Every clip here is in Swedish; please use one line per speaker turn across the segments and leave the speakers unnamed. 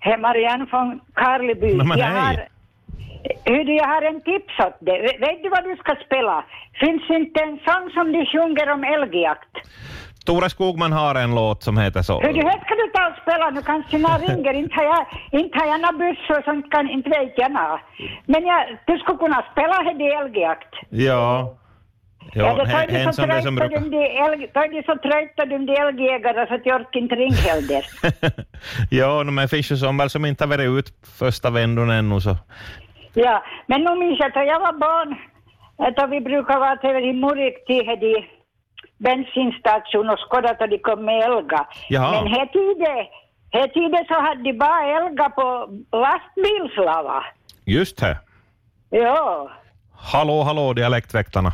Hej Marianne från Karleby.
Nej, men
jag,
hej.
har, Hur, jag har en tips åt dig. Vet- Vet du vad du ska spela? Finns inte en sång som de sjunger om älgjakt?
Tore Skogman har en låt som heter så.
Hur du här ska du ta och spela nu kanske några ringer. Inte har jag, inte har jag några bussar som kan, inte vet jag nå. Men jag, du skulle kunna spela här det älgjakt.
Ja. Jo,
Ja, då
he-
tar de så
hen som det som
trötta de
brukar...
de älg- då är de så trötta de de älgjägarna så att jag orkar inte ringa heller.
ja, no, men finns ju som väl som inte har varit ut första vändan ännu så.
Ja, men nu minns jag att jag var barn, eh, då vi brukade vara till i Murik till de bensinstationen och skåda då de kom med Elga.
Jaha.
Men här tiden, här tiden så hade de bara Elga på lastbilslava.
Just det.
Ja,
Hallå, hallå, dialektväktarna.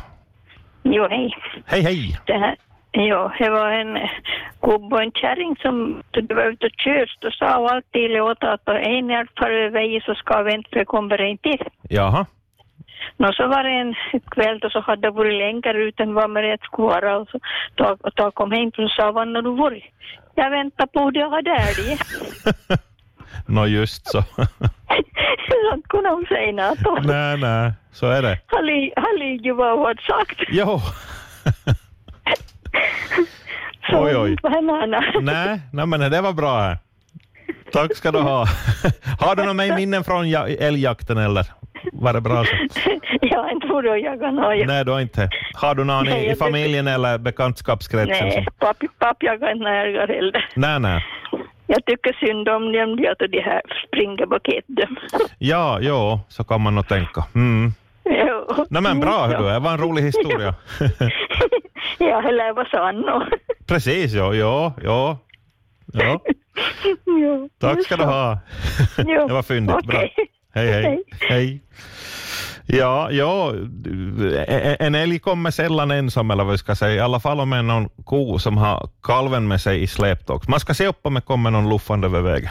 Jo, hej.
Hej, hej!
Det här, jo, det var en gubbe och en kärring som det var ute och körs. Då sa hon alltid åt att om en älg far över i så ska vi inte, för det kommer inte in.
Jaha.
Nå, så var det en kväll då så hade det varit längre ut än vad man rätt skulle vara. Och så då, och då kom hem och sa, vad har du varit? Jag väntar på det jag hade älg.
Nå just så.
Sånt kunde hon säga något. om.
nej, nej, så är det.
Han li- Han ligger ju vad hon hade sagt.
Jo.
Så
Oj, oj.
inte vad han menar.
nej, nej, men det var bra. här. Tack ska du ha. har du några mer minnen från ja- älgjakten eller? Var det bra så?
Jag har inte varit och jagat någon.
Nej, du har inte. Har du någon
Nej,
i, i
jag-
familjen eller bekantskapskretsen? som-
Nej, papp, papp jagar inte när jag heller.
Nej, nej.
Jag tycker synd om dem, de att de här springer bakåt dem.
Ja, jo, så kan man nog tänka. Mm.
Jo.
Nej, men bra, hördu. det var en rolig historia.
Ja, eller vad sa han nu?
Precis, jo, jo, jo. jo.
Jo.
Tack ska du ha.
Jo,
Det var fyndigt. Bra.
okej.
Hej, hej.
Hej.
hej. Ja, ja, en älg kommer sällan ensam eller vad jag ska säga, i alla fall om en någon ko som har kalven med sig i släptåg. Man ska se upp om det kommer någon luffande över vägen.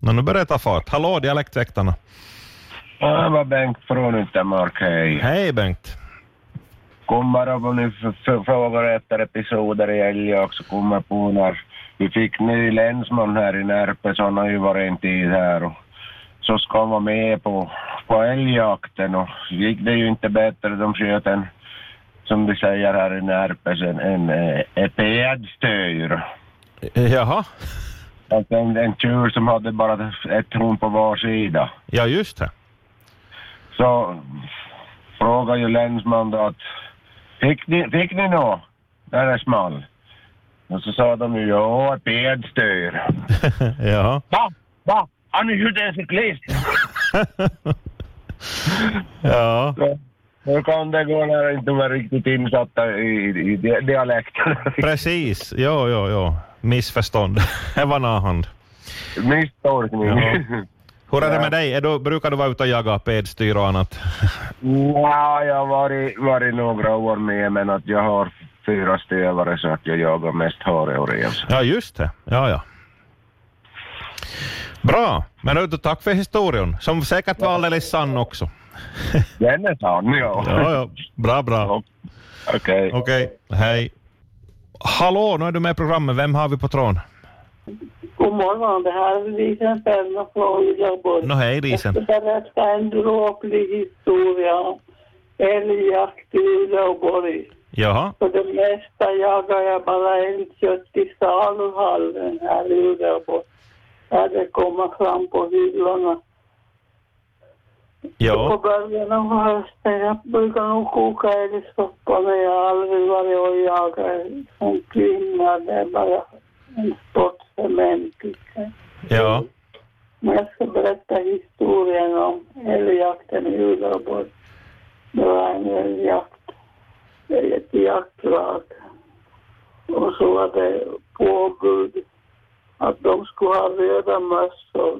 Nå, nu börjar det ta fart. Hallå, dialektväktarna.
Ja, det var Bengt från Yttermark, hej.
Hej Bengt.
Kom bara om ni f- f- frågar efter episoder i älgjakt så kommer jag på när vi fick ny länsman här i Närpes, han har ju varit en tid här och så ska han vara med på, på älgjakten och gick det ju inte bättre, de sköt en, som vi säger här i Närpes, en, en, eh, en pädstöjr.
Jaha,
Alltså en, en tjur som hade bara ett horn på var sida.
ja just det.
så frågade ju länsman då att fick ni, fick ni nå när det small? Och så sa de ju ja, ett bedstör.
Jaha.
Va? Va? Har ni skjutit en cyklist?
Ja.
Så, Nu kan det gå när jag inte var riktigt insatta i, i, i di- dialekten.
Precis, jo, jo, jo. Missförstånd. Det var en ahand.
Misstolkning.
Ja. Hur är det med dig? Är du, brukar du vara ute och jaga pedstyr och annat?
Ja, jag har varit, varit några år med men att jag har fyra stövare så att jag jagar mest hare och rev.
Ja, just det. Ja, ja. Bra, men du, tack för historien, som säkert var alldeles sann också.
Den är sann, ja.
Ja, ja. Bra, bra.
Ja. Okej.
Okej, hej. Hallå, nu är du med i programmet. Vem har vi på tråden?
God morgon, det här är Lisen Fällner från Uleåborg.
Nå, hej
Jag ska
Risen.
berätta en dråplig historia om älgjakt i Uleåborg.
Jaha,
För det mesta jagar jag bara älgkött i saluhallen här i Uleåborg. När det kommer fram på hyllorna. På
ja.
början av hösten, jag brukar nog koka älgsoppa men jag har aldrig varit och jagat som kvinna. Det är bara en sport för män, tycker jag.
ja.
Men jag ska berätta historien om älgjakten i Uleåborg. Det var en älgjakt, ett jaktlag. Och så var det påbud att de skulle ha röda mössor,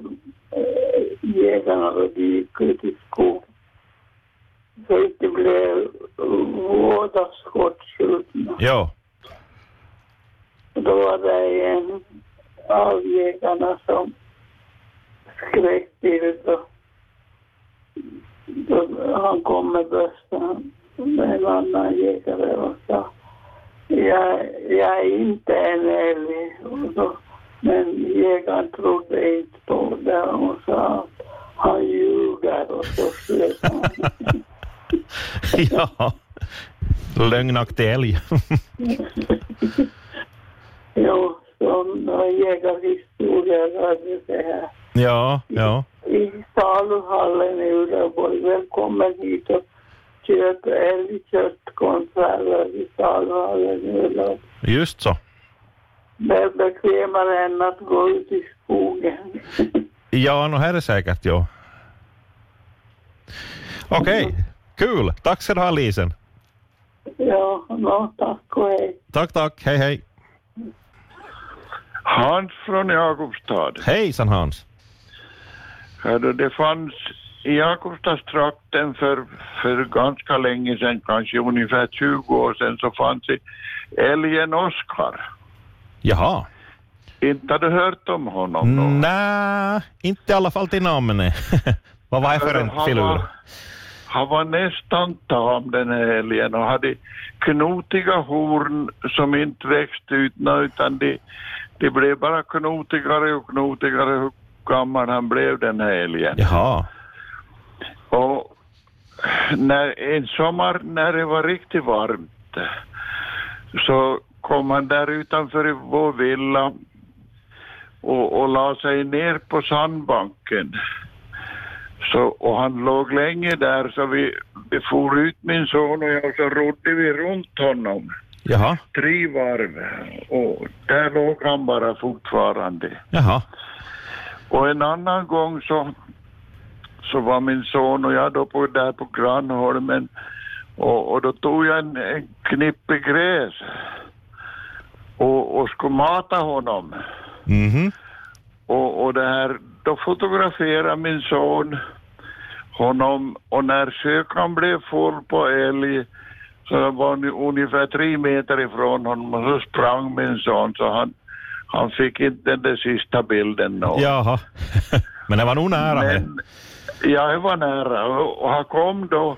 eh, jägarna, då de gick ut i skogen. Så att det blev våda skottskjutna.
Jo.
Då var det en av jägarna som skrek till då. då han kom med bössan med en annan jägare och sa jag, jag är inte en älg. Och då Men jägaren trodde inte på det. Hon sa att han ljuger och så slet han.
ja. Lögnaktig älg.
Jo, sådana jägarhistorier hade det här.
ja, ja.
I saluhallen i Uleåborg. Välkommen hit och köp älgköttkonserver i saluhallen i Uleåborg.
Just så.
Det är bekvämare än att gå ut i skogen.
Ja, no här är säkert ja. Okej, kul. Tack ska du ha Lisen.
ja, no, tack och hej.
Tack, tack. Hej, hej.
Hans från Jakobstad.
Hejsan Hans.
Hördu, det fanns i Jakobstadstrakten för, för ganska länge sedan, kanske ungefär 20 år sedan, så fanns det älgen Oskar.
Jaha.
Inte har du hört om
Mm.
honom då?
Nej, inte i alla fall till namnet. Vad var det för
Hördu,
en
han
filur?
var- Han var nästan tam den här älgen och hade knotiga horn som inte växte ut nå, utan det, det blev bara knotigare och knotigare hur gammal han blev den här älgen.
Jaha.
Och när, en sommar när det var riktigt varmt så kom han där utanför i vår villa och, och la sig ner på sandbanken. Så, och han låg länge där så vi, vi for ut min son och jag så rodde vi runt honom
Jaha.
tre varv och där låg han bara fortfarande.
Jaha.
Och en annan gång så, så var min son och jag då på, där på Grannholmen och, och då tog jag en, en knippe gräs och, och skulle mata honom.
Mhm.
Och, och det här, då fotograferade min son honom och när sökan blev full på älg så var han ju ungefär tre meter ifrån honom och så sprang min son så han, han fick inte den där sista bilden. Då.
Jaha. Men det var nog nära. det.
Men jag var nära och han kom då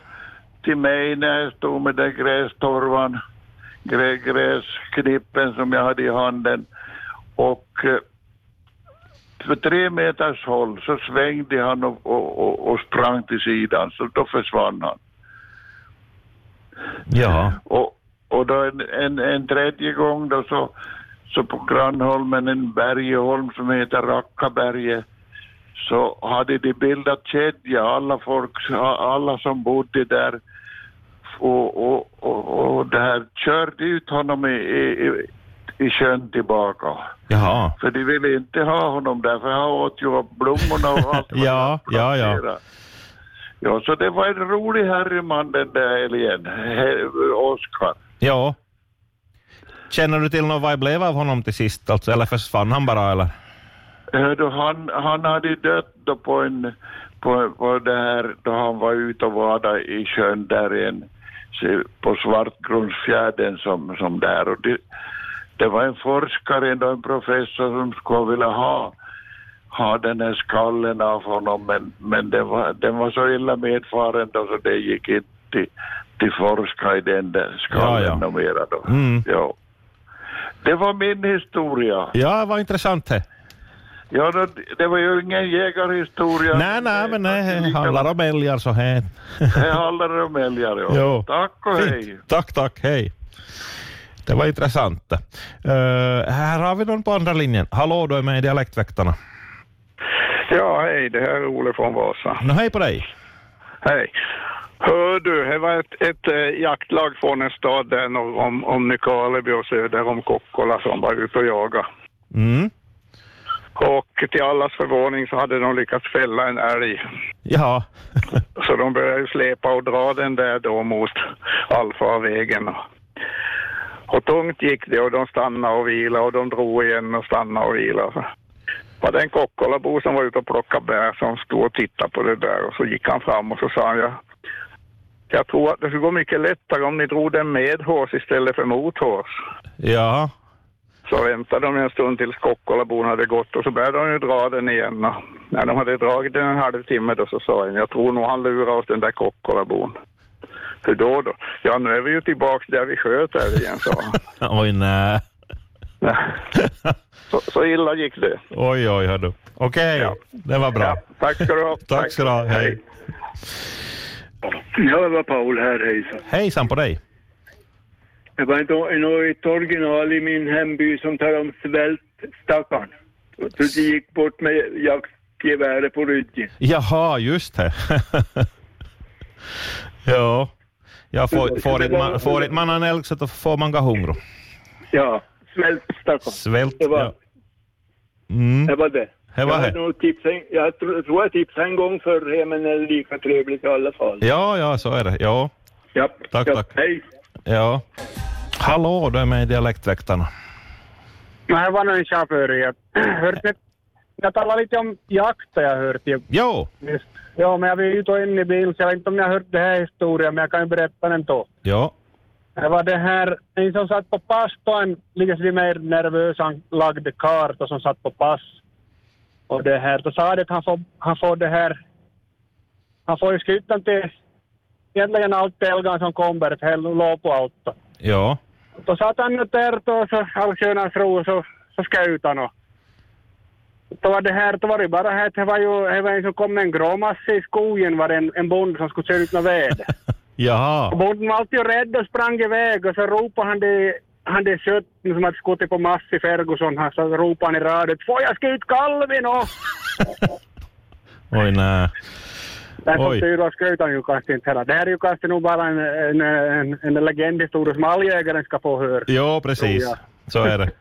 till mig när jag stod med den grästorvan, grä, gräsknippen som jag hade i handen och eh, för tre meters håll så svängde han och, och, och, och sprang till sidan så då försvann han.
Jaha.
Och, och då en, en, en tredje gång då så, så på grannholmen, en bergeholm som heter Rackaberge, så hade de bildat kedja, alla folk, alla som bodde där och, och, och, och det här körde ut honom i, i, i- i kön tillbaka.
Jaha.
För de ville inte ha honom där, för han åt ju upp blommorna och allt. vad
Ja,
de hade
ja, ja.
planterat. Ja, så det var en rolig herreman den där älgen, He- Oskar.
Ja. Känner du till något vad det blev av honom till sist? Alltså, eller försvann han bara eller?
Hördu, han, han hade dött då på en, på, på det här, då han var ute och vadade i sjön där i en, se, på Svartgrundsfjärden som, som där. Och det, det var en forskare, ändå en professor som skulle vilja ha, ha den här skallen av honom men, men den, var, den var så illa medfaren då så det gick inte till, till forska i den där
Ja, ja.
skallen ja, mera då.
Mm.
Ja. Det var min historia.
Ja, vad intressant det.
Ja, det, det var ju ingen jägarhistoria.
nej, nej, men det handlar om älgar så här.
Det handlar om älgar, ja.
Jo.
Tack och
Fint.
hej.
Tack, tack, hej. Det var intressant. Eh, här har vi någon på andra linjen. Hallå, du är med i Dialektväktarna.
Ja, hej, det här är Ole från Vasa.
Nå, hej på dig.
Hej. Hör du, det var ett, ett eh, jaktlag från en stad där norr om, om Nykarleby och söder om Kokkola som var ute och jaga.
Mm.
Och till allas förvåning så hade de lyckats fälla en älg.
Jaha.
Så de började ju släpa och dra den där då mot allfarvägen. Och tungt gick det och de stannade och vilade och de drog igen och stannade och vilade. Det var det en Kokkolabo som var ute och plockade bär som stod och tittade på det där och så gick han fram och så sa han jag, jag tror att det skulle gå mycket lättare om ni drog den med hårs istället för mot hårs.
Jaha.
Så väntade de en stund tills Kokkolabon hade gått och så började de ju dra den igen. Och när de hade dragit den en halvtimme då så sa jag, jag tror nog han lurar oss den där Kokkolabon. Hur då då? Ja, nu är vi ju tillbaks där vi sköt älgen, sa han.
Oj, nej.
Ja. Så, så illa gick det.
Oj, oj, hör du. Okej,
Ja.
det var bra.
Ja, tack ska du ha.
Tack ska du ha. Hej.
Hej.
Ja, det var Paul här, hejsan.
Hejsan på dig.
Det var en, en, ett original i min hemby som talade om svält, stackarn. Så de gick bort med jaktgeväret på ryggen.
Jaha, just det. ja. Ja, får, får, inte man, får inte man en älg så då får man gå hungrig.
Ja, svält, stackarn.
Svält.
Det var,
Ja. Mm,
det var det.
det var
jag,
det.
hade nog tipsat, jag tro- tror jag tipsade en gång förr, men det är lika trevligt i alla fall.
Ja, ja, så är det. Ja,
Ja,
Tack,
ja,
tack.
Hej.
ja. Hallå, du är med i Dialektväktarna.
No här var nog en chaufför. Jag, hört ni, jag talade lite om jakt har jag hört ju
Jo,
nyss. Ja, men jag var ute och in i bilen så jag vet inte om ni har hört den här historien, men jag kan ju berätta den då.
ja,
Det var det här, niin en som satt på pass då, en lite sådär mer nervös anlagd karl då som satt på pass. Och det här, då sa det att han får, han får det här, han får ju skjuta till egentligen allt älgar som kommer, för det låg på allt.
ja,
Mutta satanne tertoo, så allskönas ro, så, så skjuter han. och- Då var det här, då var det bara här att det var ju, det var en som kom med en gråmassa i skogen var det siis en, en bonde som skulle köra ut något ved. Och
jaha,
bonden var alltid rädd och sprang iväg och så ropade han det, han det kött som hade skjutit på mass i Ferguson, han så ropade han i radion får jag skjuta kalven och...
oj nej.
Där
Oj.
som styr och skjuter ju kanske inte heller. Det här är ju kanske nog bara en, en, en, en legendhistoria som alljägaren ska få höra.
Jo, precis.
Ja.
Så är det.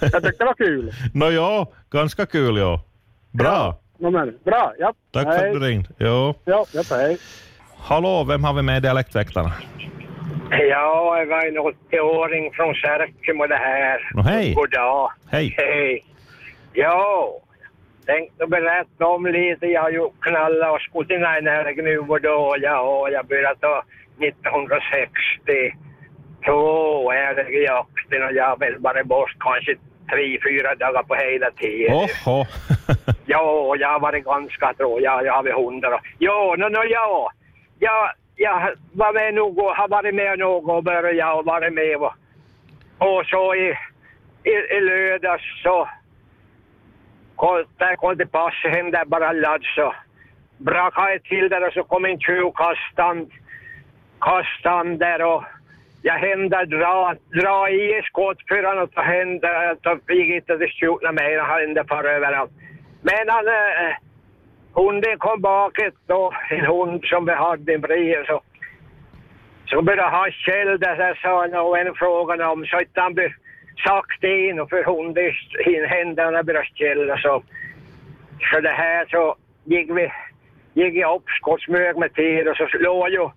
Jag tyckte det var kul.
Nå ja, ganska kul ja. Bra,
No, men, bra, ja.
tack för att du ringde. Jo.
Ja, ja, hej.
Hallå, vem har vi med i Dialektväktarna?
Ja, jag var en 80-åring från Särkemo det här.
Nå hej,
God dag.
hej.
Hej. Ja, tänkte berätta om lite. Jag har ju knallat och skjutit gruvor då. Ja, jag började ta 1962 älgjakten och jag har väl varit bort kanske tre, fyra dagar på hela tiden.
Oho.
Ja, jag har varit ganska trå. Jag, jag har varit hundra. Ja, no, no, ja. Jag, jag var med nog och har varit med nog och börjat och varit med. Och, och så i, i, i lördags så kom, där kom det pass hem där bara ladd så brakade jag till där och så kom en tjuv kastan, kastan där och jag hände dra, dra i skottfyran och så hände, så gick inte det skjutna mer, han hände far överallt. Men han, eh, hunden kom bakåt då, en hund som vi hade, en brie, så, så började han skälla där, sa han, och en frågade om, så att han blev sakta in och för hunden, händerna började skälla så. Så det här så gick vi, gick jag upp skottsmög med tid och så låg ju,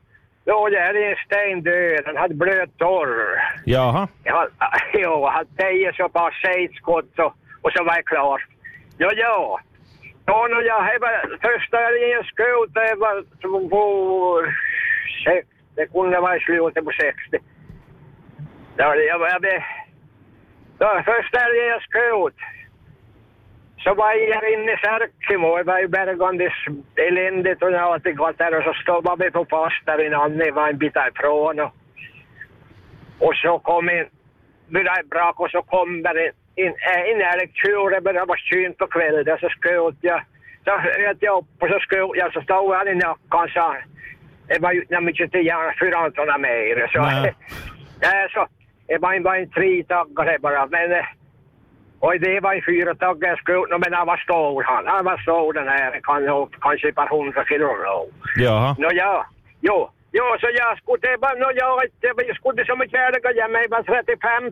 låg jag där i en sten död, han hade blöt torr.
Jaha,
Ja, jo, han säger så bara säg ett skott och, och så var jag klar. Ja, ja. Ja, no, jag det var första älgen jag sköt, det var på- på... sex- Det kunde vara i slutet på 60. Ja, jag, jag, jag, ja, första älgen jag sköt, så var jag inne i Särkimo. Det var ju bergandes eländigt och allting gott där och så stod var vi på fast där i Nanne, var en bit ifrån. Och, och så kom en, började brak och så kom där en, en, en älgtjur. Det började vara kynt på kvällen så sköt jag. Så sköt jag upp och så sköt jag så stod han i nacken så han- det var ju inte mycket till järn, 400 mer. Så,
Nej.
Nej, så det var en, var en tre taggar det bara. Men, eh, och det var en fyra taggar jag sköt men han var stor han. Han var stor den här, kan, ha upp kanske ett par hundra kilo lång.
Ah.
jaha.
Nå ja, jo. Ja, så jag skulle bara, nå ja, jag skulle som en kärlek och jag mig var 35.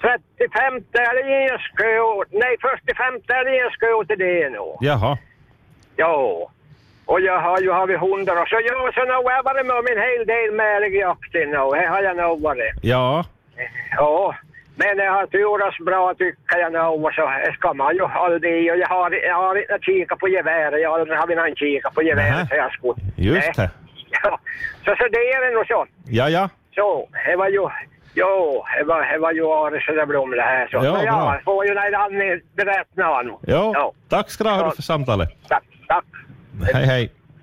35 där i en skål, nej 45 där i en skål till det nu.
Jaha,
Ja. Och jag har ju haft hundar och så ja, så nu har jag varit med om en hel del med älgjakten och här har jag nog varit.
ja,
Ja, men det har turats bra tycker jag nog och så här ska man ju aldrig. Och jag har, jag har inte kikat på geväret, jag har aldrig haft någon kika på
Nähä.
geväret så jag skulle. Nej.
just det.
Ja, så, så det är det nog så.
Ja, ja,
Så, det var ju... Jo, det var, det var ju Ari Söderblom det här. Så
Ja,
Men
bra.
ja, jag får ju när han berättar nu.
jo.
Ja.
Tack ska du ha för samtalet.
Tack, tack.
Hej, hej.